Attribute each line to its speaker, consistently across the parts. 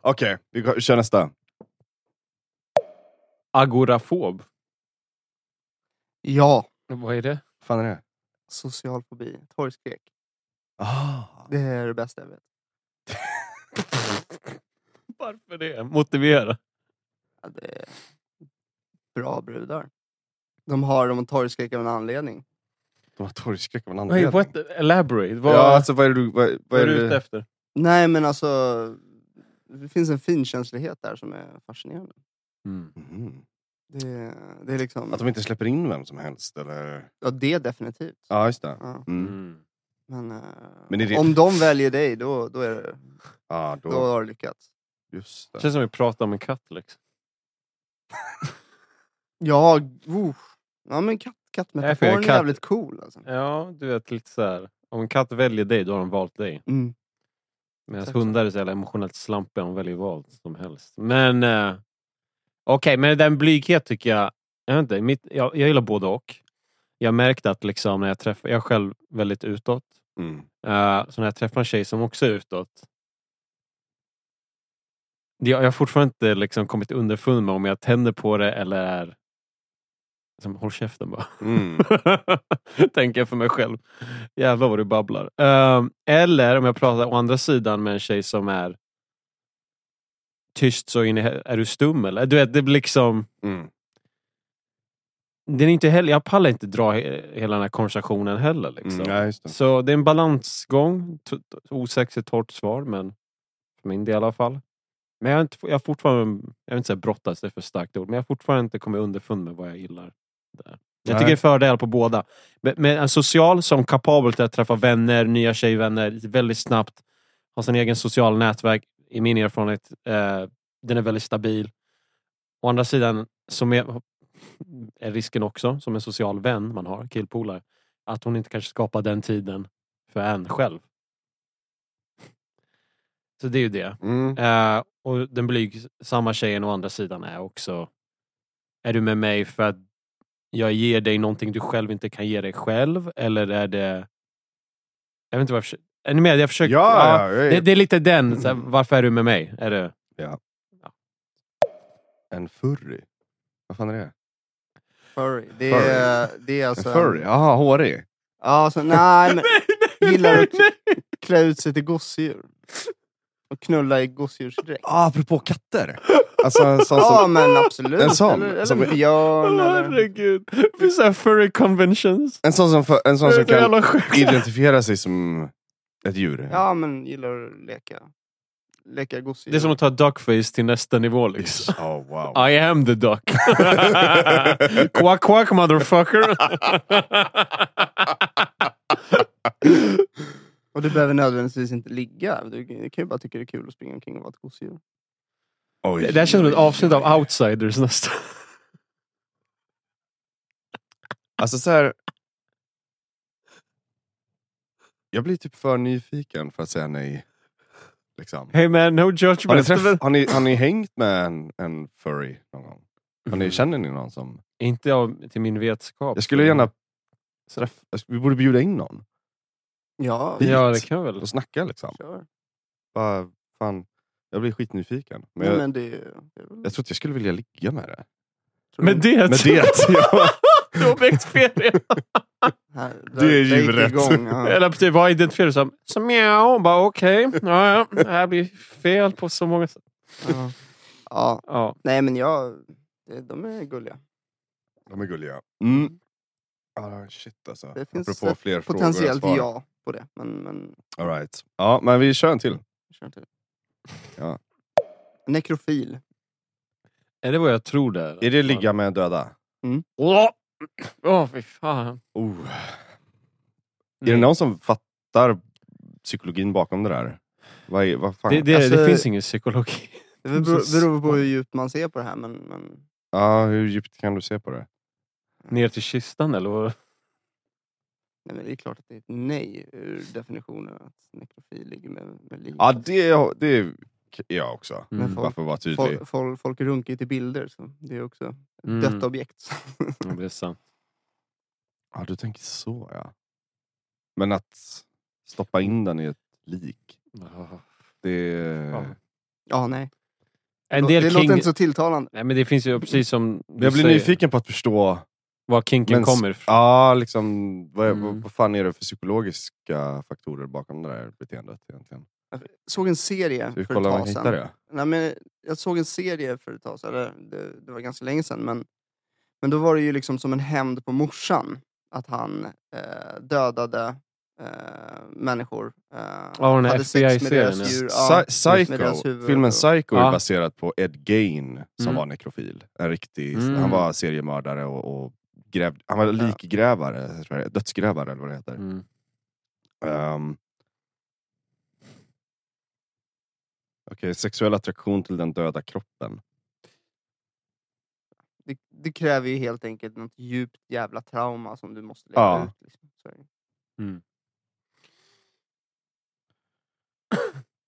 Speaker 1: Okej, vi går- kör nästa.
Speaker 2: Agorafob.
Speaker 3: Ja,
Speaker 2: Vad är det?
Speaker 1: Vad fan är det?
Speaker 3: social fobi. Torgskräck.
Speaker 1: Ah.
Speaker 3: Det är det bästa jag vet.
Speaker 2: Varför det? Motivera.
Speaker 3: Ja, det är bra brudar. De har de torgskräck av en anledning.
Speaker 1: De har torgskräck av en anledning.
Speaker 2: Nej, what? Elaborate. Vad,
Speaker 1: Vad, ja, alltså, vad är du, vad,
Speaker 2: vad
Speaker 1: vad
Speaker 2: är
Speaker 1: är
Speaker 2: du ute
Speaker 1: det?
Speaker 2: efter?
Speaker 3: Nej, men alltså... Det finns en finkänslighet där som är fascinerande.
Speaker 1: Mhm.
Speaker 3: Det, det är liksom...
Speaker 1: Att de inte släpper in vem som helst? Eller?
Speaker 3: Ja, det definitivt.
Speaker 1: Ja, just det.
Speaker 3: Ja,
Speaker 1: Mm.
Speaker 2: Mm.
Speaker 3: men, eh,
Speaker 1: Men är det-
Speaker 3: om de väljer dig, då, då, är det,
Speaker 1: Ja,
Speaker 3: då
Speaker 1: då,
Speaker 3: har du lyckats.
Speaker 1: just det.
Speaker 2: Känns som vi pratar om en katt. Liksom.
Speaker 3: Ja, oh. ja men katt,
Speaker 2: Nej, för jag är
Speaker 3: kattmetaforen är
Speaker 2: katt.
Speaker 3: jävligt cool. Alltså.
Speaker 2: Ja, du vet lite så här. Om en katt väljer dig, då har de valt dig.
Speaker 3: Mm.
Speaker 2: Medan
Speaker 3: Exakt så.
Speaker 2: hundar är så jävla emotionellt slampiga, de väljer vad som helst. Men eh, okej, men den blyghet tycker jag... Jag, vet inte, mitt, jag, jag gillar både och. Jag märkte att liksom när jag träffar... Jag är själv väldigt utåt.
Speaker 1: Mm.
Speaker 2: Eh, så när jag träffar en tjej som också är utåt. Jag, jag har fortfarande inte liksom kommit underfund med om jag tänder på det eller är... Liksom, håll käften bara.
Speaker 1: Mm.
Speaker 2: Tänker jag för mig själv. Jävlar vad du babblar. Ehm, eller om jag pratar å andra sidan med en tjej som är tyst så in i hel- Är du stum eller? Du vet, det blir liksom...
Speaker 1: Mm.
Speaker 2: Den är inte heller, jag pallar inte dra he- hela den här konversationen heller. Liksom.
Speaker 1: Mm. Ja, just det.
Speaker 2: Så det är en balansgång. T- t- Osexigt torrt svar, men för min del i alla fall. Men jag har, inte, jag har fortfarande, jag vill inte säga brottas, det är för starkt ord, men jag har fortfarande inte kommit underfund med vad jag gillar. Där. Jag
Speaker 1: Nej.
Speaker 2: tycker det är fördel på båda. Men, men en social som kapabel till att träffa vänner, nya tjejvänner väldigt snabbt, har sin egen social nätverk, i min erfarenhet, eh, den är väldigt stabil. Å andra sidan, som är, är risken också, som en social vän man har, killpolare, att hon inte kanske skapar den tiden för en själv. Så det är ju det.
Speaker 1: Mm.
Speaker 2: Eh, och den blygsamma tjejen å andra sidan är också, är du med mig för att jag ger dig någonting du själv inte kan ge dig själv? Eller är det... Jag vet inte varför... Är ni med? Jag
Speaker 1: Ja,
Speaker 2: försöker...
Speaker 1: ja, Mm. jag är-
Speaker 2: Det, det är lite den, så här, varför är du med mig? Är det...
Speaker 1: En furry? Vad fan är det?
Speaker 3: Furry. Det
Speaker 1: Furry.
Speaker 3: är, det är alltså...
Speaker 1: en furry? Jaha, hårig?
Speaker 3: Ja, alltså, nej, men gillar att klä ut sig till gosedjur. Och knulla i gosedjursdräkt.
Speaker 1: Ah, apropå katter! Alltså en sån
Speaker 3: Ja,
Speaker 1: som...
Speaker 3: men absolut.
Speaker 1: En sån,
Speaker 3: Eller,
Speaker 1: som-
Speaker 3: eller björn. Eller...
Speaker 2: Herregud. Det finns så här furry conventions.
Speaker 1: En sån som, för, en sån som
Speaker 2: Det är så
Speaker 1: kan
Speaker 2: jävla sjukt.
Speaker 1: identifiera sig som ett djur.
Speaker 3: Ja, men gillar att leka. Leka gosedjur.
Speaker 2: Det är som att ta duckface till nästa nivå liksom.
Speaker 1: Oh, wow.
Speaker 2: I am the duck. quack quack motherfucker.
Speaker 3: Och du behöver nödvändigtvis inte ligga. Du, du kan ju bara tycka det är kul att springa omkring och vara ett gosedjur.
Speaker 1: Oj.
Speaker 2: det här känns som ett avsnitt av Outsiders nästan.
Speaker 1: Alltså så här... Jag blir typ för nyfiken för att säga nej. Liksom.
Speaker 2: Hey man, no
Speaker 1: Har, ni
Speaker 2: judgment.
Speaker 1: träff, har, ni, har ni hängt med en, en furry någon gång? Har
Speaker 3: Mm-hmm.
Speaker 1: ni, känner ni någon som...
Speaker 2: Inte av, till min vetskap.
Speaker 1: Jag skulle gärna... Träff, jag sk- vi borde bjuda in någon
Speaker 3: Ja,
Speaker 1: Vi-
Speaker 2: Ja, det kan jag väl.
Speaker 1: och snacka liksom.
Speaker 3: kör.
Speaker 1: Bara, fan, jag blir skitnyfiken. Men
Speaker 3: Men,
Speaker 1: jag,
Speaker 3: men det, är ju- det är väl-
Speaker 1: jag tror att jag skulle vilja ligga med det.
Speaker 3: tror
Speaker 2: Med
Speaker 3: du-
Speaker 2: det?
Speaker 1: Med det! ja.
Speaker 2: du har väckt fel.
Speaker 3: här,
Speaker 1: det är
Speaker 3: där gick
Speaker 1: djuret.
Speaker 3: igång, ja.
Speaker 2: Eller typ, vad identifierar du som? Som mjau. Bara okej. Ja, ja. Det här blir fel på så många sätt.
Speaker 3: ja. ja,
Speaker 2: Ja.
Speaker 3: nej men jag... det- De är gulliga.
Speaker 1: De är gulliga. Mm. Ah, shit alltså.
Speaker 3: Det finns
Speaker 1: Apropå
Speaker 3: ett
Speaker 1: fler frågor än
Speaker 3: Potentiellt
Speaker 1: svar.
Speaker 3: ja på det, men, men
Speaker 1: All right. Ja, men vi kör en till.
Speaker 3: jag kör inte det.
Speaker 1: Ja.
Speaker 3: Nekrofil.
Speaker 2: Är det vad jag tror det
Speaker 1: Är det ligga med döda?
Speaker 2: Åh, Åh, fy fan. Mm.
Speaker 1: Oh. Är det någon som fattar psykologin bakom det där? Vad, är, vad fan?
Speaker 2: Det, det,
Speaker 3: Alltså-
Speaker 2: det finns ingen psykologi.
Speaker 3: Det beror, beror på hur djupt man ser på det här, men... men
Speaker 1: Ja, hur djupt kan du se på det?
Speaker 2: Ner till kistan eller? vad?
Speaker 3: Nej, men det är klart att det är ett nej ur definitionen att nekrofil ligger med, med liv.
Speaker 1: Ja, det, det är jag också.
Speaker 3: Men
Speaker 2: Mm.
Speaker 3: folk-
Speaker 1: Bara för att vara tydlig.
Speaker 3: folk, folk, folk runkar ju till bilder, så det är också ett
Speaker 2: Mm.
Speaker 3: dött objekt.
Speaker 2: Ja, det är sant.
Speaker 1: Ja, du tänker så ja. Men att stoppa in den i ett lik,
Speaker 2: Ja.
Speaker 1: det,
Speaker 2: Ja.
Speaker 3: Ja, nej.
Speaker 2: En
Speaker 3: det
Speaker 2: del
Speaker 3: låter
Speaker 2: king...
Speaker 3: inte så tilltalande.
Speaker 2: Nej, men det finns ju precis som du
Speaker 1: Jag blir
Speaker 2: säger,
Speaker 1: nyfiken på att förstå,
Speaker 2: var kinken
Speaker 1: Men s-
Speaker 2: kommer ifrån.
Speaker 1: ja, liksom, vad, är-
Speaker 2: Mm.
Speaker 1: vad, vad fan är det för psykologiska faktorer bakom det där beteendet egentligen?
Speaker 3: såg en serie
Speaker 1: Ska vi
Speaker 3: för ett
Speaker 1: kolla om
Speaker 3: tag
Speaker 1: vi
Speaker 3: sedan.
Speaker 1: hittar det?
Speaker 3: Nej, men jag såg en serie för ett tag sedan, eller det, det var ganska länge sedan, men, men då var det ju liksom som en hämnd på morsan. Att han eh, dödade eh, människor. Eh,
Speaker 2: Ja, den här
Speaker 3: hade sex med
Speaker 2: FBI-serien,
Speaker 3: deras
Speaker 2: ja.
Speaker 3: djur.
Speaker 1: Psy-
Speaker 3: Ja,
Speaker 1: Psycho,
Speaker 3: med deras huvud
Speaker 1: filmen
Speaker 3: och-
Speaker 1: Psycho är
Speaker 2: Ja.
Speaker 1: baserad på Ed Gein som
Speaker 2: Mm.
Speaker 1: var nekrofil. En riktig,
Speaker 2: Mm.
Speaker 1: Han var seriemördare och, och gräv, han var likgrävare, tror jag det är, dödsgrävare eller vad det heter.
Speaker 2: Mm.
Speaker 1: Ehm. Okej, sexuell attraktion till den döda kroppen.
Speaker 3: det, det kräver ju helt enkelt något djupt jävla trauma som du måste leva
Speaker 1: Ja.
Speaker 3: ut. Liksom. Så är det.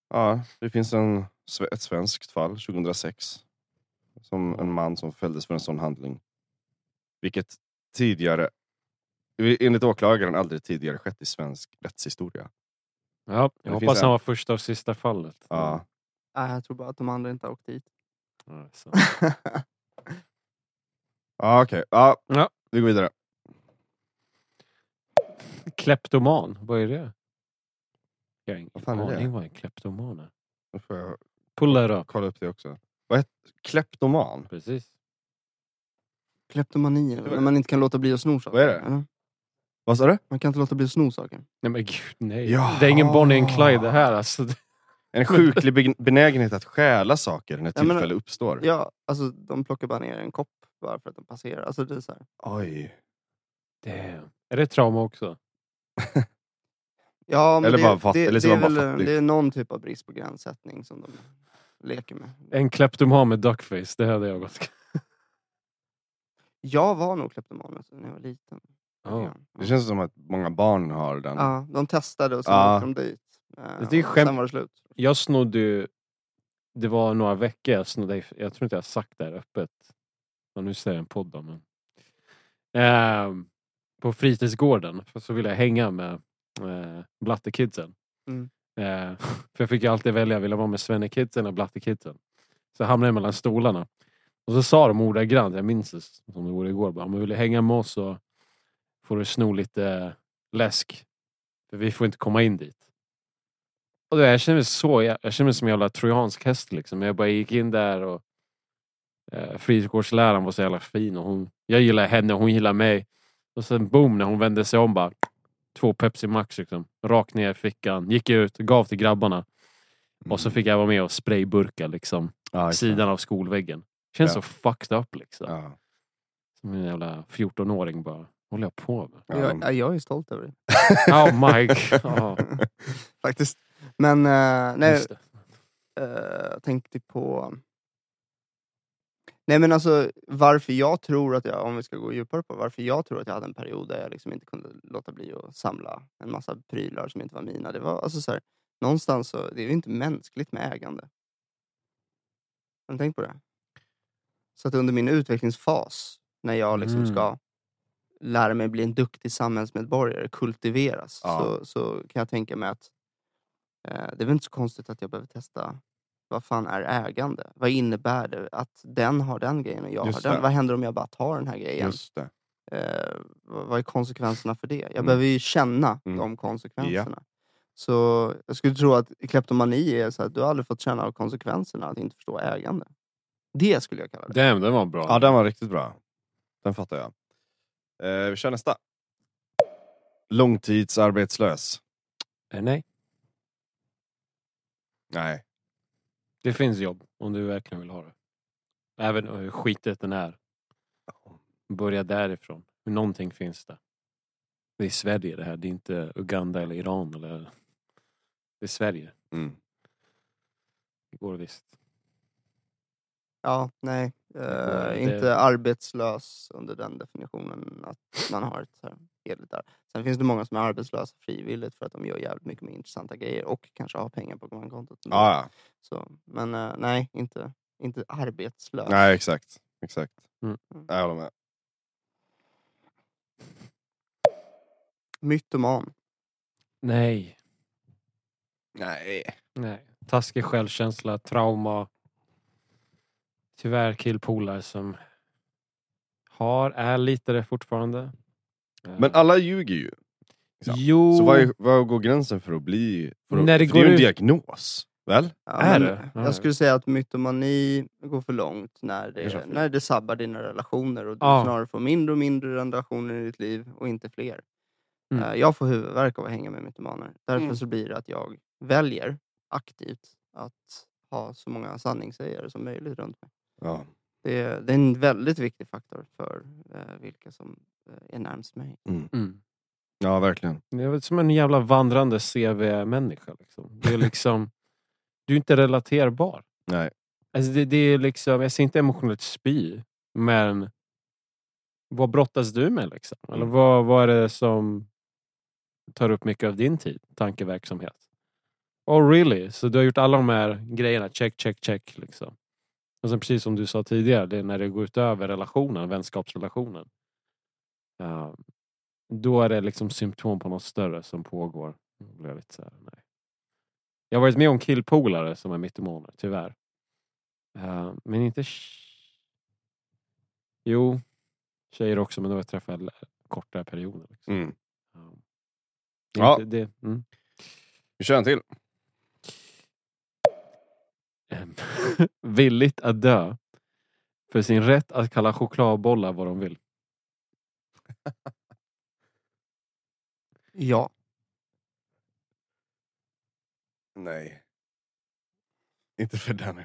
Speaker 1: Ja, det finns en, sve- ett svenskt fall 2006. Som en man som fälldes för en sån handling. Vilket tidigare, enligt åklagaren, aldrig tidigare skett i svensk rättshistoria.
Speaker 2: Ja,
Speaker 1: Det
Speaker 2: jag hoppas
Speaker 1: finns
Speaker 2: han
Speaker 1: en-
Speaker 2: var första och sista fallet.
Speaker 1: Ja.
Speaker 3: Nej, jag tror bara att de andra inte har åkt dit.
Speaker 2: Ja, så.
Speaker 1: Ja, okej. Ja,
Speaker 2: Ja.
Speaker 1: vi går vidare.
Speaker 2: Kleptoman, vad är det? Jag har ingen
Speaker 1: Vad fan är det?
Speaker 2: aning vad en kleptoman är.
Speaker 1: Nu får jag
Speaker 2: Pull that up.
Speaker 1: kolla upp det också. Vad heter Kleptoman?
Speaker 2: Precis.
Speaker 3: Kleptomani,
Speaker 1: var-
Speaker 3: när man inte kan låta bli att sno saker.
Speaker 1: Vad är det?
Speaker 3: eller?
Speaker 1: Vad sa du?
Speaker 3: Man kan inte låta bli att sno saker.
Speaker 2: Nej men gud, nej.
Speaker 1: Ja.
Speaker 2: Det är ingen Bonnie and Clyde det här alltså.
Speaker 1: En sjuklig ben- benägenhet att stjäla saker när
Speaker 3: Ja, men-
Speaker 1: tillfälle uppstår.
Speaker 3: Ja, alltså de plockar bara ner en kopp bara för att de passerar. Alltså det är så här.
Speaker 1: Oj.
Speaker 2: Damn. Är det trauma också?
Speaker 3: Ja, men
Speaker 1: Eller
Speaker 3: det,
Speaker 1: bara fatt-
Speaker 3: det,
Speaker 1: eller så
Speaker 3: det, är
Speaker 1: var man
Speaker 3: väl,
Speaker 1: bara fattig.
Speaker 3: det är någon typ av brist på gränssättning som de leker med.
Speaker 2: En kleptoman med duckface, det hade jag gått.
Speaker 3: Jag var nog kleptoman alltså, när jag var liten.
Speaker 2: Ja.
Speaker 3: Ja.
Speaker 1: Det känns som att många barn har den.
Speaker 3: Ja, de testade och sen
Speaker 1: Ja.
Speaker 3: åkte de dit. Eh,
Speaker 2: Det är ju
Speaker 3: och
Speaker 2: skämt-
Speaker 3: Sen var det slut.
Speaker 2: Jag snodde ju, det var några veckor jag snodde, jag tror inte jag har sagt det här öppet. Men nu säger jag en podd då, men. Ehm, på fritidsgården, för så ville jag hänga med eh, blattekidsen.
Speaker 3: Mm.
Speaker 2: Eh, för jag fick ju alltid välja, ville jag vara med svennekidsen eller blattekidsen? Så jag hamnade mellan stolarna. Och så sa de ordagrant, jag minns det som det vore igår, bara, om du vill du hänga med oss så får du sno lite eh, läsk. För vi får inte komma in dit. Och då, jag känner mig så, jä- jag känner mig som en jävla trojansk häst liksom. Jag bara gick in där och eh, fritidsgårdsläraren var så jävla fin och hon, jag gillar henne och hon gillar mig. Och sen boom, när hon vände sig om bara två Pepsi Max liksom. Rakt ner i fickan, gick ut, gav till grabbarna och så fick jag vara med och sprayburka liksom
Speaker 1: Mm. Ja, exakt.
Speaker 2: sidan av skolväggen. Känns
Speaker 1: Ja.
Speaker 2: så fucked up liksom.
Speaker 1: Ja.
Speaker 2: Som en jävla 14-åring bara. håller jag på med?
Speaker 1: Ja.
Speaker 3: Jag, ja, jag är stolt över det.
Speaker 2: Oh my god. Ja,
Speaker 3: Faktiskt. Men eh, nej,
Speaker 2: just det.
Speaker 3: eh, jag tänkte på... Nej men alltså varför jag tror att jag, om vi ska gå djupare på varför jag tror att jag hade en period där jag liksom inte kunde låta bli att samla en massa prylar som inte var mina. Det var alltså så här, någonstans så, det är ju inte mänskligt med ägande. Har ni tänkt på det? Så att under min utvecklingsfas, när jag liksom
Speaker 2: Mm.
Speaker 3: ska lära mig bli en duktig samhällsmedborgare, kultiveras,
Speaker 1: Ja.
Speaker 3: så, så kan jag tänka mig att eh, det är väl inte så konstigt att jag behöver testa vad fan är ägande? Vad innebär det att den har den grejen och jag
Speaker 1: Just
Speaker 3: har den?
Speaker 1: det.
Speaker 3: Vad händer om jag bara tar den här grejen?
Speaker 1: Just det.
Speaker 3: Eh, vad vad är konsekvenserna för det? Jag
Speaker 1: Mm.
Speaker 3: behöver ju känna
Speaker 1: Mm.
Speaker 3: de konsekvenserna. Så jag skulle tro att kleptomani är så att du har aldrig fått känna av konsekvenserna att inte förstå ägande. Det skulle jag kalla det.
Speaker 2: Damn, den var bra.
Speaker 1: Ja, den var riktigt bra. Den fattar jag. Eh, vi kör nästa. Långtidsarbetslös.
Speaker 2: Eh, Nej,
Speaker 1: Nej.
Speaker 2: det finns jobb om du verkligen vill ha det. Även eh, hur skitet den är. Börja därifrån. Någonting finns där. Det är Sverige det här. Det är inte Uganda eller Iran. Eller... Det är Sverige.
Speaker 1: Mm.
Speaker 2: Det går visst.
Speaker 3: Ja, nej. Eh,
Speaker 2: det-
Speaker 3: Inte arbetslös under den definitionen att man har ett så här hederligt där. Sen finns det många som är arbetslösa frivilligt för att de gör jävligt mycket mer intressanta grejer och kanske har pengar på bankkontot.
Speaker 2: Mm.
Speaker 1: Ah, Ja, ja.
Speaker 3: Så, men eh, nej, inte, inte arbetslös.
Speaker 1: Nej, exakt. exakt.
Speaker 2: Mm.
Speaker 1: Jag håller med.
Speaker 3: Mytoman.
Speaker 2: Nej.
Speaker 1: Nej.
Speaker 2: Nej. Taskig självkänsla, trauma. Tyvärr killpolare som har, är lite det fortfarande. Eh,
Speaker 1: Men alla ljuger ju. Ja.
Speaker 2: jo,
Speaker 1: Så vad, är, vad går gränsen för att bli... För att,
Speaker 2: När det
Speaker 1: för
Speaker 2: går
Speaker 1: är ju en
Speaker 2: ut-
Speaker 1: diagnos, väl?
Speaker 3: Ja,
Speaker 2: Är
Speaker 3: men
Speaker 2: det? Ja.
Speaker 3: Jag skulle säga att mytomani går för långt när
Speaker 1: Kanske
Speaker 3: det,
Speaker 1: fel.
Speaker 3: när det sabbar dina relationer och du
Speaker 2: Ja.
Speaker 3: snarare får mindre och mindre relationer i ditt liv och inte fler.
Speaker 2: Mm.
Speaker 3: Eh, Jag får huvudvärk av att hänga med mytomaner. Därför
Speaker 2: Mm.
Speaker 3: så blir det att jag väljer aktivt att ha så många sanningssägare som möjligt runt mig.
Speaker 1: Ja.
Speaker 3: Det är, det är en väldigt viktig faktor för eh, vilka som eh, är närmst mig.
Speaker 2: mm.
Speaker 1: ja, verkligen.
Speaker 2: Jag vet, som en jävla vandrande CV-människa. Liksom. Det är liksom, du är inte relaterbar.
Speaker 1: Nej.
Speaker 2: Alltså det, det är liksom, jag ser inte emotionellt spy, men vad brottas du med? Liksom? Eller vad, vad är det som tar upp mycket av din tid, tankeverksamhet? Oh really? Så du har gjort alla de här grejerna, check, check, check. Liksom. Och sen precis som du sa tidigare, det är när det går ut över relationen, vänskapsrelationen. Ja, då är det liksom symptom på något större som pågår. Då blir jag, lite så här, nej. jag har varit med om killpolare som är mytomaner, tyvärr. Eh, men inte... tj- Jo, tjejer också, men då har jag träffat l- kortare perioder. Liksom.
Speaker 1: Mm.
Speaker 2: Ja. Det är
Speaker 1: Ja.
Speaker 2: inte- det, mm.
Speaker 1: Vi kör en till.
Speaker 2: Ehm, Villigt att dö för sin rätt att kalla chokladbollar vad de vill.
Speaker 3: Ja.
Speaker 1: Nej. Inte för den.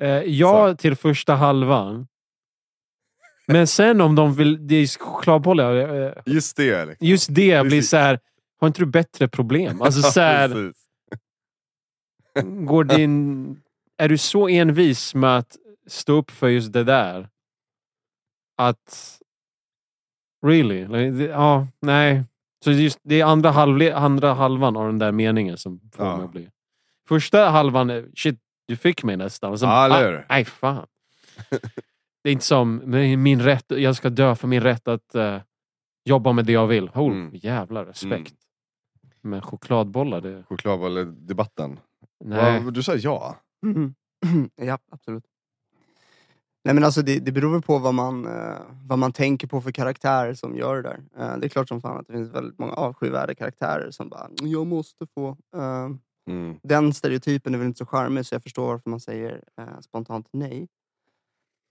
Speaker 2: Eh, ja till första halvan. Men sen om de vill... Det är chokladbollar. Eh,
Speaker 1: Just det. Liksom.
Speaker 2: just det blir
Speaker 1: Precis.
Speaker 2: så här... Har inte du bättre problem? Alltså så här,
Speaker 1: Precis.
Speaker 2: går din... Är du så envis med att stå upp för just det där? Att... Really? Like, det- Ja, nej. Så just, det är andra, halvle, andra halvan av den där meningen som får
Speaker 1: Ja.
Speaker 2: mig att bli... Första halvan, är, shit, du fick mig nästan. Och sen, ah,
Speaker 1: Ja, eller hur?
Speaker 2: nej, fan. Det är inte som men min rätt, jag ska dö för min rätt att eh, jobba med det jag vill. Oh,
Speaker 1: Mm.
Speaker 2: Jävlar, respekt. Men chokladbollar, det...
Speaker 1: Chokladbolldebatten.
Speaker 2: Nej.
Speaker 1: Vad- Du sa ja.
Speaker 3: Mhm. ja, absolut. Nej, men alltså det, det beror väl på vad man, eh, vad man tänker på för karaktärer som gör det där. Eh, det är klart som fan att det finns väldigt många avskyvärda karaktärer som bara “jag måste få”. Eh,
Speaker 1: Mm.
Speaker 3: den stereotypen är väl inte så charmig så jag förstår varför man säger eh, spontant nej.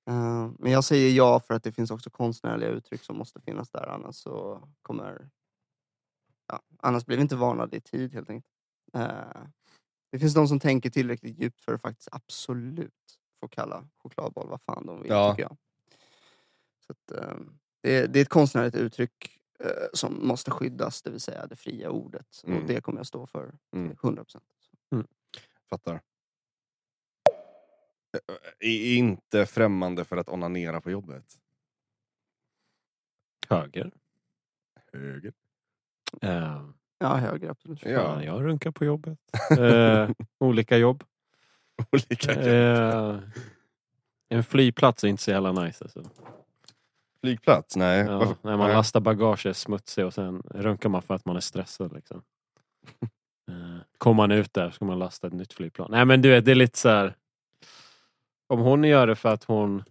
Speaker 3: Eh, men jag säger ja för att det finns också konstnärliga uttryck som måste finnas där annars så kommer... Ja, annars blir vi inte varnade i tid helt enkelt. Eh, det finns de som tänker tillräckligt djupt för att faktiskt absolut få kalla chokladboll vad fan de vill
Speaker 1: Ja.
Speaker 3: tycker jag. Så att, eh, det, är, det är ett konstnärligt uttryck eh, som måste skyddas, det vill säga det fria ordet.
Speaker 1: Mm.
Speaker 3: Och det kommer jag stå för
Speaker 1: Mm.
Speaker 3: 100 procent.
Speaker 1: Fattar. Ä- Är inte främmande för att onanera på jobbet.
Speaker 2: Höger.
Speaker 1: Höger.
Speaker 2: Eh,
Speaker 3: Ja, högre absolut.
Speaker 1: Ja.
Speaker 2: Fan, jag runkar på jobbet. Eh, olika jobb.
Speaker 1: Olika grejer.
Speaker 2: Eh, en flygplats är inte så jävla nice. Alltså.
Speaker 1: Flygplats? Nej.
Speaker 2: Ja,
Speaker 1: Varför-
Speaker 2: när man
Speaker 1: Nej.
Speaker 2: lastar bagage är smutsig och sen runkar man för att man är stressad. Liksom. Eh, kommer man ut där ska man lasta ett nytt flygplan. Nej men du vet, det är lite så här. Om hon gör det för att hon,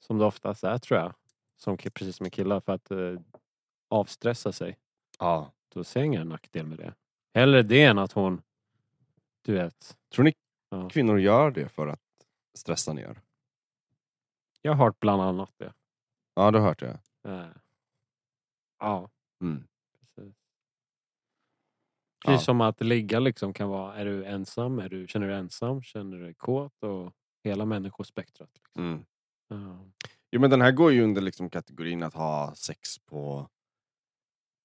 Speaker 2: som det oftast är tror jag, som, ki- precis som killar, för att eh, avstressa sig.
Speaker 1: Ja.
Speaker 2: då ser jag ingen nackdel med det. Hellre det än att hon, du vet,
Speaker 1: Tror ni
Speaker 2: Ja.
Speaker 1: kvinnor gör det för att stressa ner?
Speaker 2: jag har hört bland annat det.
Speaker 1: Ja, du har hört det.
Speaker 2: Eh, Ja,
Speaker 1: Mm.
Speaker 2: precis.
Speaker 1: Ja.
Speaker 2: Precis som att ligga liksom kan vara, är du ensam, är du, känner du dig ensam, känner du dig kåt och hela människospektrat. Liksom.
Speaker 1: Mm.
Speaker 2: Ja.
Speaker 1: Jo, men den här går ju under liksom kategorin att ha sex på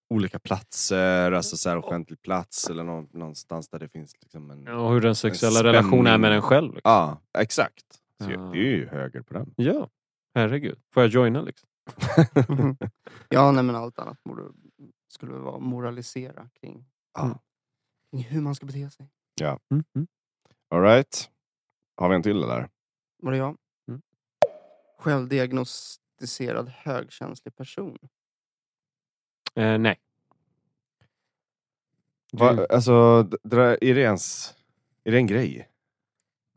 Speaker 1: olika platser, alltså så här offentlig plats eller nå- någonstans där det finns liksom en...
Speaker 2: Ja, Och hur den sexuella
Speaker 1: spänning.
Speaker 2: relationen är med den själv. Liksom.
Speaker 1: Ja, exakt. Så
Speaker 2: Ja.
Speaker 1: Det är ju höger på den.
Speaker 2: Ja, herregud. Får jag joina liksom?
Speaker 3: ja, nej, men allt annat borde, skulle väl vara moralisera kring, mm,
Speaker 1: Ja.
Speaker 3: kring hur man ska bete sig.
Speaker 2: Mm,
Speaker 1: All right. Har vi en till eller?
Speaker 3: Var det jag?
Speaker 2: Mm.
Speaker 3: Självdiagnostiserad högkänslig person.
Speaker 2: Eh, nej. Du,
Speaker 1: Va, alltså, d- dra- är det ens Är det en grej?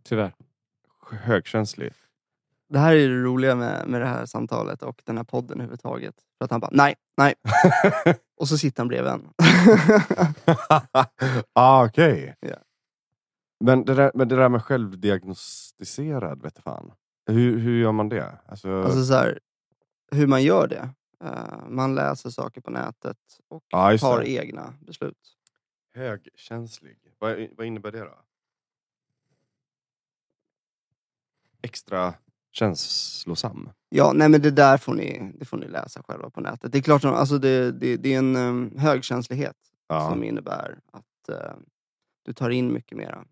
Speaker 2: Tyvärr.
Speaker 1: Högkänslig.
Speaker 3: Det här är ju det roliga med, med det här samtalet och den här podden överhuvudtaget. För att han bara, nej, nej. och så sitter han bredvid en.
Speaker 1: ah, okej.
Speaker 3: Ja.
Speaker 1: Men, det där- men det där med självdiagnostiserad, vet du fan. Hur, hur gör man det? Alltså,
Speaker 3: alltså så här, hur man gör det. Eh, man läser saker på nätet och
Speaker 1: ja, just
Speaker 3: tar
Speaker 1: det.
Speaker 3: egna beslut.
Speaker 1: Högkänslig. Vad, vad innebär det då? Extra känslosam.
Speaker 3: Ja, nej men det där får ni, det får ni läsa själva på nätet. Det är klart, som- alltså det, det, det är en um, högkänslighet
Speaker 1: Ja.
Speaker 3: som innebär att eh, du tar in mycket mera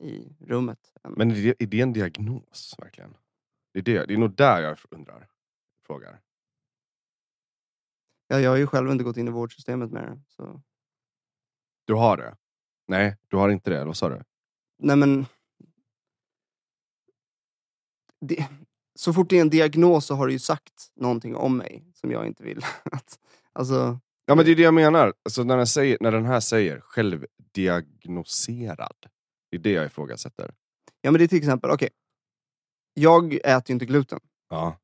Speaker 3: i rummet. Än,
Speaker 1: Men är det, är det en diagnos verkligen? Det är, det, det är nog där jag undrar. Frågar.
Speaker 3: ja, jag har ju själv inte gått in i vårdsystemet med det. Så.
Speaker 1: Du har det? Nej, du har inte det. Vad sa du?
Speaker 3: Nej men... Det, så fort det är en diagnos så har du ju sagt någonting om mig som jag inte vill att... Alltså,
Speaker 1: Ja, men det är det jag menar. Alltså, när, den säger, när den här säger självdiagnoserad. Det är det jag ifrågasätter.
Speaker 3: ja men det är till exempel, okej. jag äter ju inte gluten.
Speaker 1: Ja.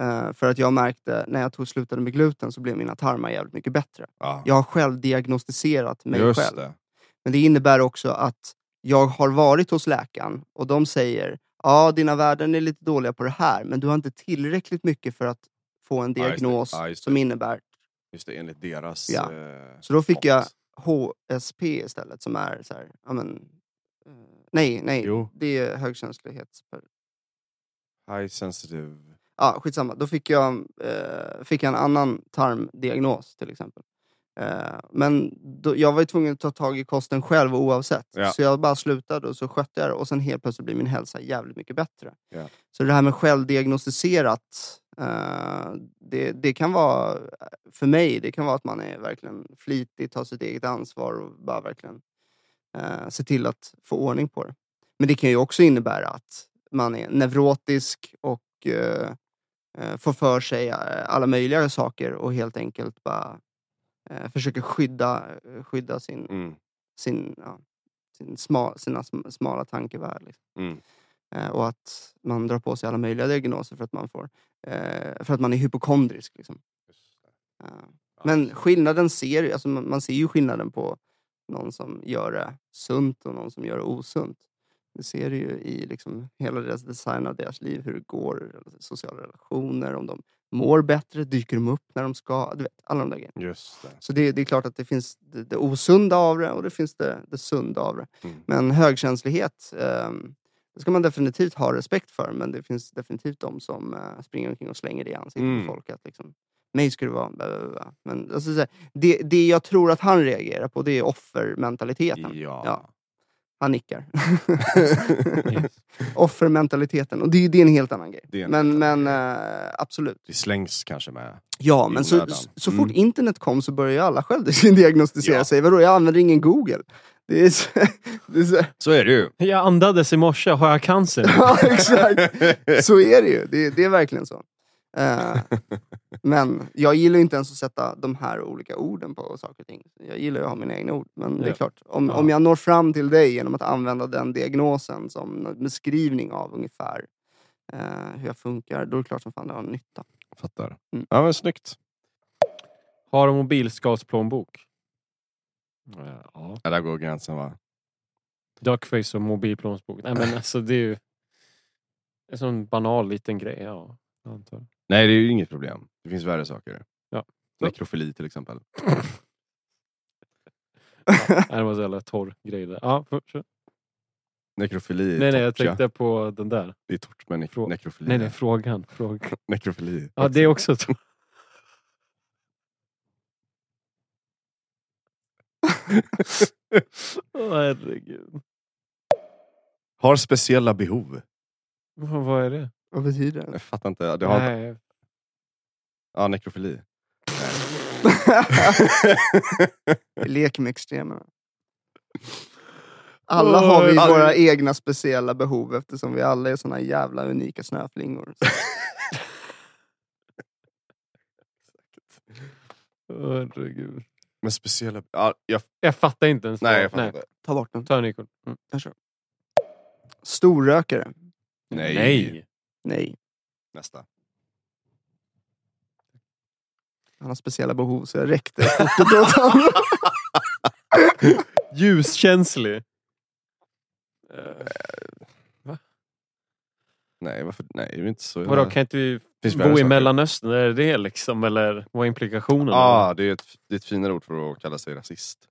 Speaker 3: Eh, för att jag märkte när jag tog, slutade med gluten så blev mina tarmar jävligt mycket bättre.
Speaker 1: ja.
Speaker 3: Jag har själv diagnostiserat mig
Speaker 1: Just
Speaker 3: själv.
Speaker 1: det.
Speaker 3: Men det innebär också att jag har varit hos läkaren och de säger ja, dina värden är lite dåliga på det här, men du har inte tillräckligt mycket för att få en
Speaker 1: Ja, just det.
Speaker 3: diagnos
Speaker 1: Ja, just det.
Speaker 3: som innebär
Speaker 1: Just det, enligt deras...
Speaker 3: Ja.
Speaker 1: eh,
Speaker 3: Så då fick jag
Speaker 1: font.
Speaker 3: HSP istället som är så här, ja men, eh, nej, nej,
Speaker 1: Jo.
Speaker 3: det är högkänslighets...
Speaker 1: High sensitive.
Speaker 3: Ja, skitsamma. Då fick jag, eh, fick jag en annan tarmdiagnos till exempel. Eh, men då, jag var ju tvungen att ta tag i kosten själv oavsett.
Speaker 1: Ja.
Speaker 3: Så jag bara slutade och så skötte jag det. Och sen helt plötsligt blir min hälsa jävligt mycket bättre.
Speaker 1: Ja.
Speaker 3: Så det här med självdiagnostiserat, eh, det, det kan vara, för mig, det kan vara att man är verkligen flitig, tar sitt eget ansvar och bara verkligen eh, se till att få ordning på det. Men det kan ju också innebära att man är neurotisk och eh, eh, får för sig eh, alla möjliga saker och helt enkelt bara eh, försöker skydda, eh, skydda sin,
Speaker 1: Mm.
Speaker 3: sin, ja, sin sma, sina sm- smala tankevärld. Liksom.
Speaker 1: Mm.
Speaker 3: Eh, och att man drar på sig alla möjliga diagnoser för att man, får, eh, för att man är hypokondrisk. Liksom. Eh, men skillnaden ser alltså man man ser ju skillnaden på någon som gör det sunt och någon som gör det osunt. Det ser du ju i liksom hela deras design av deras liv, hur det går, sociala relationer, om de mår bättre, dyker de upp när de ska, du vet, alla de där grejerna.
Speaker 1: Just det.
Speaker 3: Så det, det är klart att det finns det, det osunda av det och det finns det, det sunda av det.
Speaker 1: Mm.
Speaker 3: Men högkänslighet, ehm, det ska man definitivt ha respekt för, men det finns definitivt de som eh, springer omkring och slänger det i ansiktet
Speaker 1: Mm.
Speaker 3: på folk. Att liksom, mig ska du vara... Bla, bla, bla. Men alltså, så här, det, det jag tror att han reagerar på, det är offermentaliteten.
Speaker 1: Ja.
Speaker 3: Ja. Han nickar. offermentaliteten. Och det, är- det är en helt annan grej.
Speaker 1: Det är en
Speaker 3: men
Speaker 1: helt annan
Speaker 3: men eh, absolut.
Speaker 1: Det slängs kanske med.
Speaker 3: Ja,
Speaker 1: i
Speaker 3: men så,
Speaker 1: onödan.
Speaker 3: så, så
Speaker 1: Mm.
Speaker 3: fort internet kom så började ju alla själv diagnostisera
Speaker 1: Ja.
Speaker 3: sig. Vadå, jag använder ingen Google. Det är så, det är så,
Speaker 1: Så är det ju.
Speaker 2: Jag andades i morse. Har jag cancer?
Speaker 3: ja, exakt. Så är det ju. Det, det är verkligen så. Eh, men jag gillar ju inte ens att sätta de här olika orden på saker och ting. Jag gillar ju att ha mina egna ord. Men det är
Speaker 2: Ja.
Speaker 3: klart, om,
Speaker 2: Ja.
Speaker 3: om jag når fram till dig genom att använda den diagnosen som en beskrivning av ungefär eh, hur jag funkar, då är det klart som fan det har nytta.
Speaker 1: Fattar.
Speaker 3: Mm.
Speaker 1: Ja, men snyggt.
Speaker 2: Har du mobilskadesplånbok? Eh, Ja.
Speaker 1: Ja, där går gränsen va?
Speaker 2: Duckface och mobilplånbok. Nej men alltså det är ju... En sån banal liten grej. Ja, jag antar.
Speaker 1: Nej, det är ju inget problem. Det finns värre saker.
Speaker 2: Ja.
Speaker 1: Nekrofili till exempel.
Speaker 2: Nej, det var så jävla torr grej där. Ja, för, för.
Speaker 1: Nekrofili är
Speaker 2: Nej, nej, jag
Speaker 1: torrt, ja.
Speaker 2: tänkte på den där.
Speaker 1: Det är torrt med
Speaker 2: Frå-
Speaker 1: nek- nekrofili.
Speaker 2: Nej, nej, frågan. Fråga.
Speaker 1: Nekrofili.
Speaker 2: Ja, det är också torrt. Åh, herregud.
Speaker 1: Har speciella behov.
Speaker 2: Vad vad är det?
Speaker 3: Vad betyder det?
Speaker 1: Jag fattar inte. Det har inte...
Speaker 2: Nej,
Speaker 1: Ja, nekrofili.
Speaker 3: Vi leker med extremerna. Alla har vi
Speaker 1: Oj.
Speaker 3: våra egna speciella behov eftersom vi alla är såna jävla unika snöflingor.
Speaker 2: herregud.
Speaker 1: Med speciella... Ja, jag,
Speaker 2: Jag fattar inte ens.
Speaker 1: nej, jag fattar inte.
Speaker 3: Ta bort den.
Speaker 2: Ta en ny kund. Mm.
Speaker 3: Storrökare?
Speaker 1: Nej.
Speaker 3: Nej.
Speaker 1: Nästa.
Speaker 3: Han har speciella behov så jag räckte kortet åt honom.
Speaker 2: Ljuskänslig.
Speaker 1: Äh, Nej, varför? Nej, det är inte så.
Speaker 2: Vadå, kan inte vi
Speaker 1: Finns värre
Speaker 2: bo i
Speaker 1: saker.
Speaker 2: Mellanöstern? Är det det liksom? Eller vad är implikationerna?
Speaker 1: Ah, det, är ett, det är ett finare ord för att kalla sig rasist.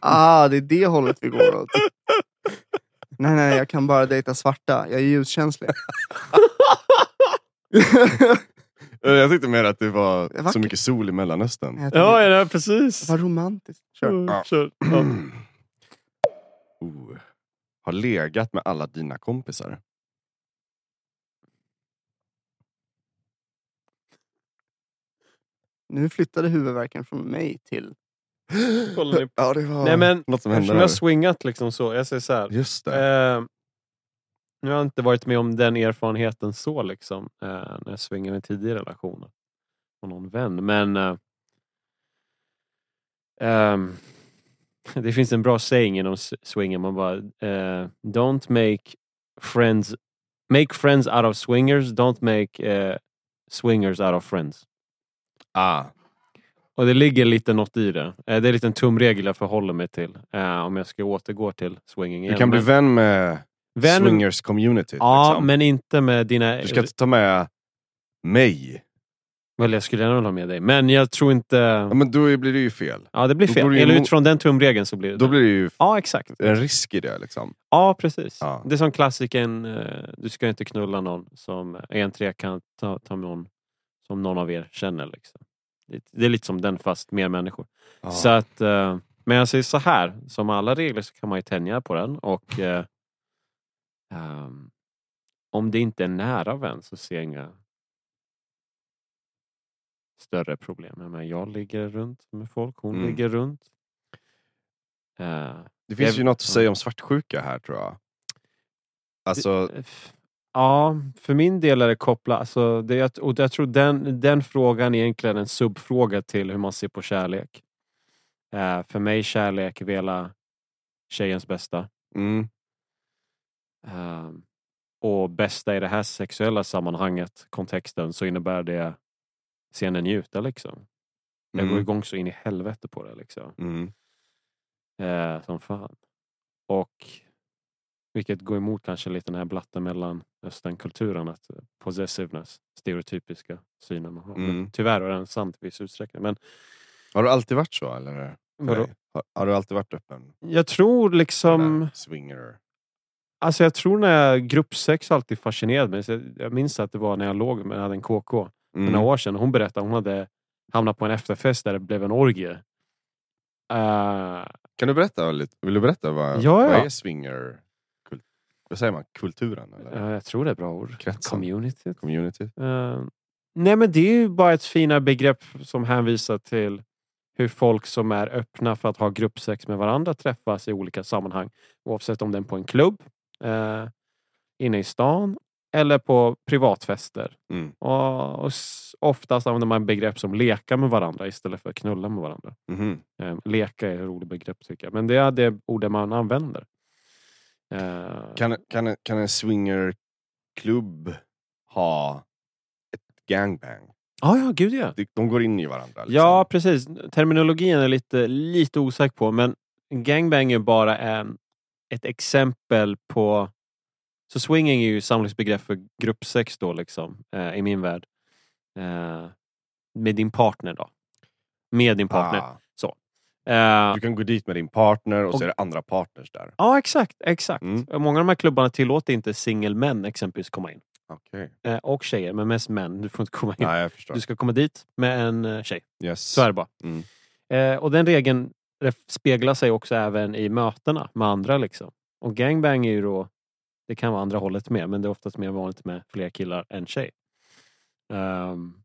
Speaker 3: Ah, det är det hållet vi går åt. Nej, nej, jag kan bara dejta svarta. Jag är ljuskänslig.
Speaker 1: Eh, Jag tyckte mer att det var
Speaker 3: Vackert.
Speaker 1: så mycket sol i Mellanöstern.
Speaker 3: Jag
Speaker 2: Ja,
Speaker 3: tycker-
Speaker 2: ja, precis.
Speaker 3: Vad romantiskt. Kör.
Speaker 2: Ja, kör. Ja.
Speaker 1: Oh. Har legat med alla dina kompisar.
Speaker 3: Nu flyttade huvudvärken från mig till...
Speaker 2: Kollar ni-
Speaker 1: Ja, det var
Speaker 2: Nej, men-
Speaker 1: något som hände
Speaker 2: Eftersom jag har
Speaker 1: där.
Speaker 2: swingat liksom så. Jag säger så här.
Speaker 1: Just det.
Speaker 2: Eh, nu har jag inte varit med om den erfarenheten så liksom. Eh, när jag swingade i en tidig relation. Och någon vän. Men... Eh, ehm, det finns en bra saying inom s- swingen. Man bara... Eh, don't make friends... Make friends out of swingers. Don't make eh, swingers out of friends.
Speaker 1: Ah.
Speaker 2: Och det ligger lite något i det. Eh, Det är en liten tumregel jag förhåller mig till. eh, Om jag ska återgå till swinging igen.
Speaker 1: Du kan bli
Speaker 2: Men-
Speaker 1: vän med
Speaker 2: Vän-
Speaker 1: swingers community.
Speaker 2: Ja,
Speaker 1: liksom.
Speaker 2: men inte med dina...
Speaker 1: Du ska inte ta med mig.
Speaker 2: Väl, jag skulle gärna vilja ha med dig. Men jag tror inte...
Speaker 1: Ja, men då blir det ju fel.
Speaker 2: Ja, det blir
Speaker 1: då går
Speaker 2: fel.
Speaker 1: du
Speaker 2: Eller
Speaker 1: emot-
Speaker 2: utifrån den tumregeln så blir det
Speaker 1: Då
Speaker 2: det.
Speaker 1: blir det ju
Speaker 2: Ja, exakt.
Speaker 1: en risk i det. Liksom.
Speaker 2: Ja, precis.
Speaker 1: Ja.
Speaker 2: Det är som klassiken eh, du ska inte knulla någon som är en trekant, ta, ta med någon som någon av er känner. Liksom. Det, det är lite som den fast mer människor.
Speaker 1: Ja.
Speaker 2: Så att, eh, men jag säger så här, som alla regler så kan man ju tänja på den och eh, ehm, om det inte är nära vän så ser jag inga större problem. Jag, menar, jag ligger runt med folk, hon
Speaker 1: Mm.
Speaker 2: ligger runt. Eh,
Speaker 1: det finns
Speaker 2: jag-
Speaker 1: ju något att säga om svartsjuka här tror jag. Alltså,
Speaker 2: eh, f- ja, för min del är det kopplat. Alltså, det, jag- och jag tror den, den frågan är egentligen en subfråga till hur man ser på kärlek. Eh, för mig kärlek vela tjejens bästa.
Speaker 1: mm,
Speaker 2: Ehm, och bästa i det här sexuella sammanhanget, kontexten, så innebär det scenen njuta liksom. Jag går
Speaker 1: mm,
Speaker 2: igång så in i helvete på det liksom.
Speaker 1: mm,
Speaker 2: Eh, som fan. Och vilket går emot kanske lite den här blatten mellan östernkulturen, att possessiveness, stereotypiska synen man har.
Speaker 1: mm.
Speaker 2: Tyvärr är den sant i viss utsträckning. Men
Speaker 1: Har du alltid varit så? Eller?
Speaker 2: vadå?
Speaker 1: Nej. Har, har du alltid varit öppen?
Speaker 2: jag tror liksom...
Speaker 1: Eller Swinger?
Speaker 2: Alltså jag tror när jag, gruppsex har alltid fascinerat mig. Så jag- Jag minns att det var när jag låg med jag hade en KK.
Speaker 1: Mm.
Speaker 2: för några år sedan. Hon berättade att hon hade hamnat på en efterfest där det blev en orgie. Eh,
Speaker 1: Kan du berätta lite? Vill du berätta vad,
Speaker 2: Ja,
Speaker 1: vad
Speaker 2: ja.
Speaker 1: är swinger? Kult, vad säger man? Kulturen? Eller?
Speaker 2: eh, jag tror det är ett bra ord.
Speaker 1: Kretsen?
Speaker 2: Community.
Speaker 1: Community?
Speaker 2: Eh, nej men det är ju bara ett fina begrepp som hänvisar till hur folk som är öppna för att ha gruppsex med varandra träffas i olika sammanhang. Oavsett om det är på en klubb, eh, inne i stan eller på privatfester.
Speaker 1: Mm.
Speaker 2: Och, och s- oftast använder man begrepp som leka med varandra istället för knulla med varandra.
Speaker 1: Mhm.
Speaker 2: Eh, Leka är ett roligt begrepp tycker jag. Men det är det ordet man använder. Eh,
Speaker 1: Kan, kan, kan en swingerklubb ha ett gangbang?
Speaker 2: Ja, ja, gud ja.
Speaker 1: De, de går in i varandra. Liksom.
Speaker 2: Ja, precis. Terminologin är lite, lite osäker på, men gangbang är bara en, ett exempel på... Så swinging är ju samlingsbegrepp för gruppsex då, liksom, eh, i min värld. Eh, med din partner då. Med din partner.
Speaker 1: Ah,
Speaker 2: Eh,
Speaker 1: du kan gå dit med din partner och,
Speaker 2: Och-
Speaker 1: så är det andra partners där.
Speaker 2: Ja, exakt. exakt.
Speaker 1: Mm.
Speaker 2: Många av de här klubbarna tillåter inte singelmän exempelvis komma in.
Speaker 1: Okej.
Speaker 2: Eh, och tjejer, men mest män. Du får inte komma in.
Speaker 1: Nej, jag förstår.
Speaker 2: Du ska komma dit med en eh, tjej.
Speaker 1: Yes.
Speaker 2: Så är det bara.
Speaker 1: Mm.
Speaker 2: Eh, och den regeln ref- speglar sig också även i mötena med andra. Liksom. Och gangbang är ju då, det kan vara andra hållet med, men det är oftast mer vanligt med fler killar än tjej. Ehm,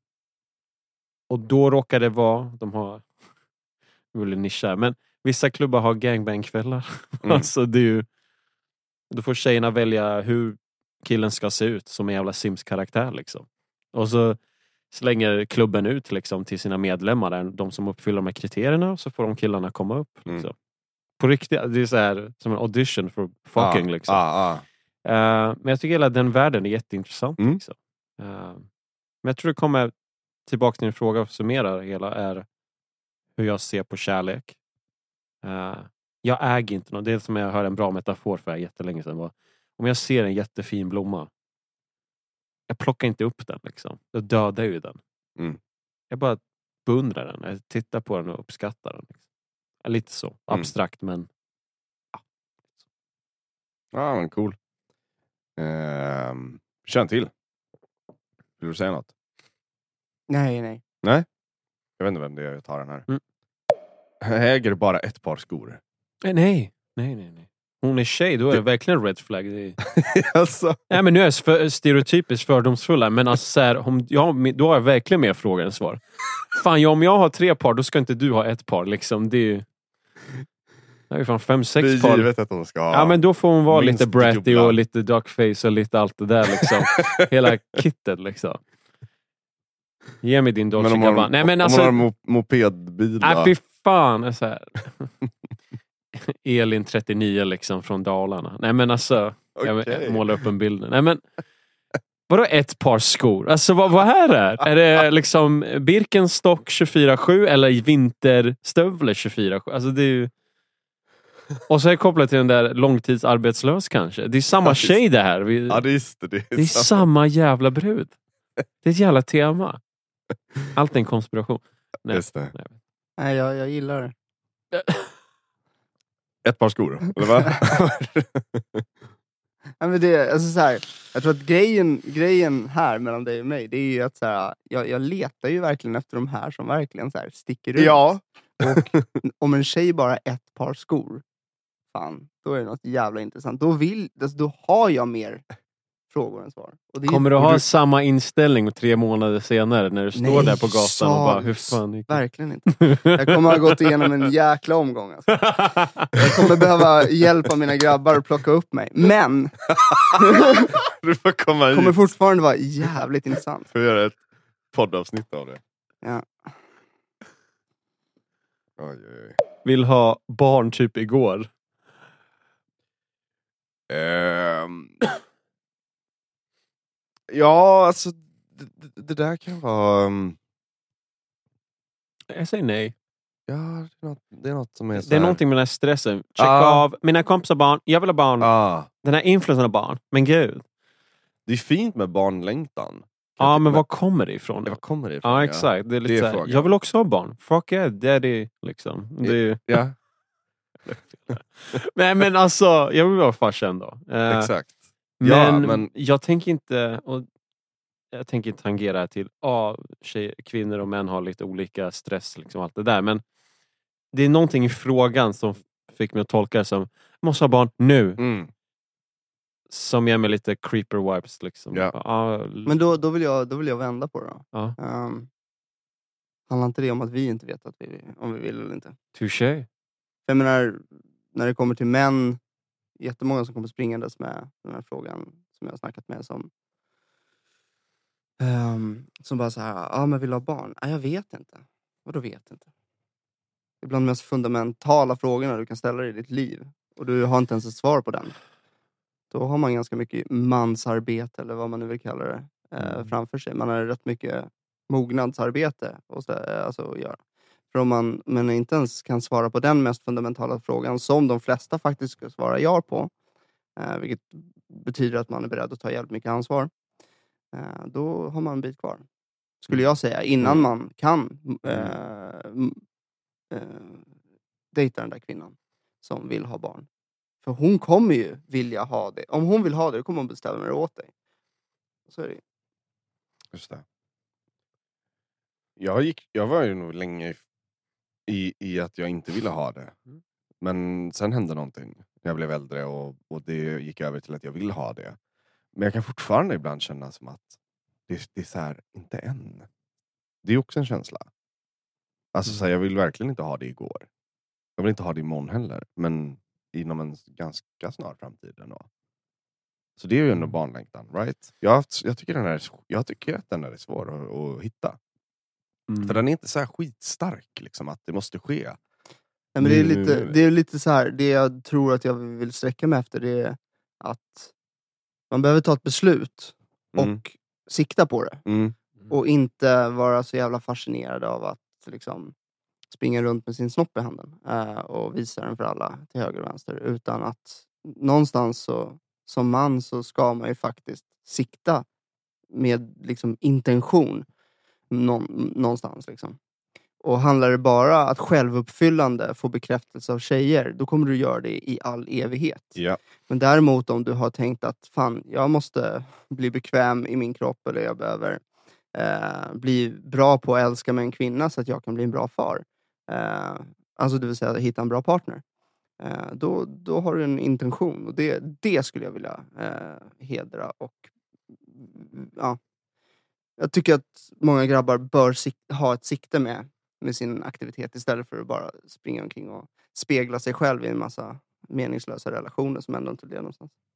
Speaker 2: och då råkar det vara, de har, jag ville nischa, här, men vissa klubbar har gangbangkvällar.
Speaker 1: Mm.
Speaker 2: alltså det är ju, då får tjejerna välja hur killen ska se ut som en jävla Sims-karaktär liksom. Och så slänger klubben ut liksom, till sina medlemmar, där, de som uppfyller de här kriterierna, och så får de killarna komma upp. Liksom.
Speaker 1: Mm.
Speaker 2: På riktigt, det är så här, som en audition för fucking.
Speaker 1: ah,
Speaker 2: liksom.
Speaker 1: Ah, ah.
Speaker 2: Eh, men jag tycker hela den världen är jätteintressant.
Speaker 1: Mm.
Speaker 2: Liksom. Eh, men jag tror det kommer tillbaka till din fråga och summera det hela är hur jag ser på kärlek. Eh, jag äger inte något. Det är som jag hörde en bra metafor för jättelänge sedan. Var, om jag ser en jättefin blomma. Jag plockar inte upp den. Liksom. Jag dödar ju den.
Speaker 1: Mm.
Speaker 2: Jag bara beundrar den. Jag tittar på den och uppskattar den. Liksom. Ja, Lite
Speaker 1: Mm.
Speaker 2: så abstrakt men
Speaker 1: Ja, men cool. Ehm, kör en till. Vill du säga något?
Speaker 3: Nej, nej.
Speaker 1: Jag vet inte vem det är, jag tar den här.
Speaker 2: Mm.
Speaker 1: Jag äger bara ett par skor.
Speaker 2: Nej, Eh, nej, nej. nej, nej. Hon är tjej, då är det, verkligen red flag. Det är...
Speaker 1: alltså.
Speaker 2: nej, men nu är jag för, stereotypiskt fördomsfull här, men alltså, så här, om jag, då har jag verkligen mer frågor än svar. Fan, ja, om jag har tre par, då ska inte du ha ett par. Liksom. Det är ju... Jag har ju fan fem,
Speaker 1: Det
Speaker 2: sex
Speaker 1: är
Speaker 2: par.
Speaker 1: givet att de ska ha.
Speaker 2: Ja, men då får hon vara
Speaker 1: Minst
Speaker 2: lite bratty
Speaker 1: dubbla.
Speaker 2: och lite duckface och lite allt det där. Liksom. Hela kittet liksom. Ge mig din Dolce
Speaker 1: Men om man,
Speaker 2: Gabbana. Nej, men alltså,
Speaker 1: om man har en mo- mopedbil
Speaker 2: Nej,
Speaker 1: då?
Speaker 2: Äh, fy fan. Så här. Elin 39 liksom från Dalarna. Nej men alltså,
Speaker 1: Okej.
Speaker 2: jag målar upp en bild. Nej men, vadå ett par skor? Alltså vad, vad här är? Är det liksom Birkenstock 24-7 eller vinterstövlar 24-7? Alltså det är ju... Och så är det kopplat till den där långtidsarbetslös kanske. Det är samma
Speaker 1: Ja, just-
Speaker 2: tjej det här. Vi,
Speaker 1: Ja, det är just det. Det är
Speaker 2: det är
Speaker 1: sant.
Speaker 2: samma jävla brud. Det är ett jävla tema. Allt är en konspiration. nej.
Speaker 1: Just det.
Speaker 3: nej jag, jag gillar det.
Speaker 1: Ett par skor, eller vad?
Speaker 3: Ja, men det, alltså så här, jag tror att grejen, grejen här mellan dig och mig, det är ju att så här, jag, jag letar ju verkligen efter de här som verkligen så här, sticker ut.
Speaker 1: ja.
Speaker 3: Om en tjej bara har ett par skor, fan, då är det något jävla intressant. Då, vill, alltså, då har jag mer frågor än svar. Och det är-
Speaker 2: Kommer du
Speaker 3: och
Speaker 2: ha samma inställning tre månader senare när du står
Speaker 3: Nej,
Speaker 2: där på gatan och bara, hur
Speaker 3: sals.
Speaker 2: fan gick det?
Speaker 3: Verkligen inte. Jag kommer ha gått igenom en jäkla omgång. Alltså. Jag kommer behöva hjälp av mina grabbar att plocka upp mig. Men
Speaker 1: Du får komma hit.
Speaker 3: kommer fortfarande vara jävligt intressant.
Speaker 1: Får vi göra ett poddavsnitt av det?
Speaker 3: Ja.
Speaker 1: Oj, oj, oj.
Speaker 2: Vill ha barn typ igår.
Speaker 1: Ehm. Ja, alltså det, det- det där kan vara... um,
Speaker 2: Jag säger nej.
Speaker 1: Ja, det är något, det är något som är så
Speaker 2: Det är
Speaker 1: här-
Speaker 2: någonting med den här stressen. Check
Speaker 1: Ah.
Speaker 2: av, mina kompisar har barn, jag vill ha barn.
Speaker 1: Ah,
Speaker 2: Den här influensen har barn. Men gud.
Speaker 1: det är fint med barnlängtan. Kan
Speaker 2: Ja,
Speaker 1: jag tycka.
Speaker 2: men var kommer det ifrån?
Speaker 1: Ja,
Speaker 2: Ja,
Speaker 1: Var kommer det ifrån?
Speaker 2: exakt. Det är lite
Speaker 1: Det är
Speaker 2: så här,
Speaker 1: frågan.
Speaker 2: jag vill också ha barn. Fuck yeah, daddy. Liksom. Det är, ju-
Speaker 1: Ja,
Speaker 2: Nej men alltså, jag vill vara farsan då. Eh,
Speaker 1: exakt.
Speaker 2: Men,
Speaker 1: Ja, men-
Speaker 2: jag tänker inte och jag tänker inte tangera här till ja, tjej, kvinnor och män har lite olika stress liksom allt det där. Men det är någonting i frågan som fick mig att tolka det som jag måste ha barn nu.
Speaker 1: Mm.
Speaker 2: Som ger mig lite creeper vibes. Liksom.
Speaker 1: Ja.
Speaker 2: Ja,
Speaker 3: Men då, då, vill jag, då vill jag vända på det då.
Speaker 2: Ja.
Speaker 3: Ehm, handlar inte det om att vi inte vet att vi, om vi vill eller inte?
Speaker 2: touché.
Speaker 3: Jag menar, när det kommer till män, jättemånga som kommer springandes med den här frågan som jag har snackat med som, ehm, som bara så här, ja ah, men vill du ha barn? Ah, jag vet inte. Vadå vet inte? Det är bland de mest fundamentala frågorna du kan ställa dig i ditt liv och du har inte ens ett svar på den. Då har man ganska mycket mansarbete eller vad man nu vill kalla det eh, framför sig. Man har rätt mycket mognadsarbete och så, eh, alltså, att göra. För om man men inte ens kan svara på den mest fundamentala frågan som de flesta faktiskt ska svara ja på, eh, vilket betyder att man är beredd att ta jävligt mycket ansvar, eh, då har man en bit kvar. Skulle jag säga, innan man kan eh, m- eh, dejta den där kvinnan som vill ha barn. För hon kommer ju vilja ha det. Om hon vill ha det, då kommer hon bestämma det åt dig. Så är det ju.
Speaker 1: Just det. Jag, gick, jag var ju nog länge i- i, i att jag inte ville ha det.
Speaker 2: Mm.
Speaker 1: Men sen hände någonting. Jag blev äldre och, och det gick över till att jag vill ha det. Men jag kan fortfarande ibland känna som att det, det är så här, inte än. Det är också en känsla. Alltså så här, jag vill verkligen inte ha det igår. Jag vill inte ha det imorgon heller. Men inom en ganska snar framtid ändå. Så det är ju ändå barnlängtan, right? Jag, har haft, jag, tycker, den här, är s- jag tycker att den här är svår att, att hitta.
Speaker 2: Mm.
Speaker 1: För den är inte så här skitstark, liksom, att det måste ske.
Speaker 3: Nej, men det är
Speaker 1: Nu- nu-
Speaker 3: lite,
Speaker 1: nu.
Speaker 3: det är lite så här, det jag tror att jag vill sträcka mig efter det är att man behöver ta ett beslut och
Speaker 1: Mm.
Speaker 3: sikta på det.
Speaker 1: Mm.
Speaker 3: Och inte vara så jävla fascinerad av att liksom, springa runt med sin snopp i handen eh, och visa den för alla till höger och vänster. Utan att någonstans så, som man så ska man ju faktiskt sikta med liksom, intention någon, någonstans. Liksom. Och handlar det bara att självuppfyllande får bekräftelse av tjejer, då kommer du göra det i all evighet.
Speaker 1: Ja.
Speaker 3: Men däremot om du har tänkt att fan, jag måste bli bekväm i min kropp eller jag behöver eh, bli bra på att älska med en kvinna så att jag kan bli en bra far. Eh, alltså det vill säga hitta en bra partner. Eh, då, då har du en intention och det, det skulle jag vilja eh, hedra. Och, mm, ja. Jag tycker att många grabbar bör sik- ha ett sikte med, med sin aktivitet istället för att bara springa omkring och spegla sig själv i en massa meningslösa relationer som ändå inte leder någonstans.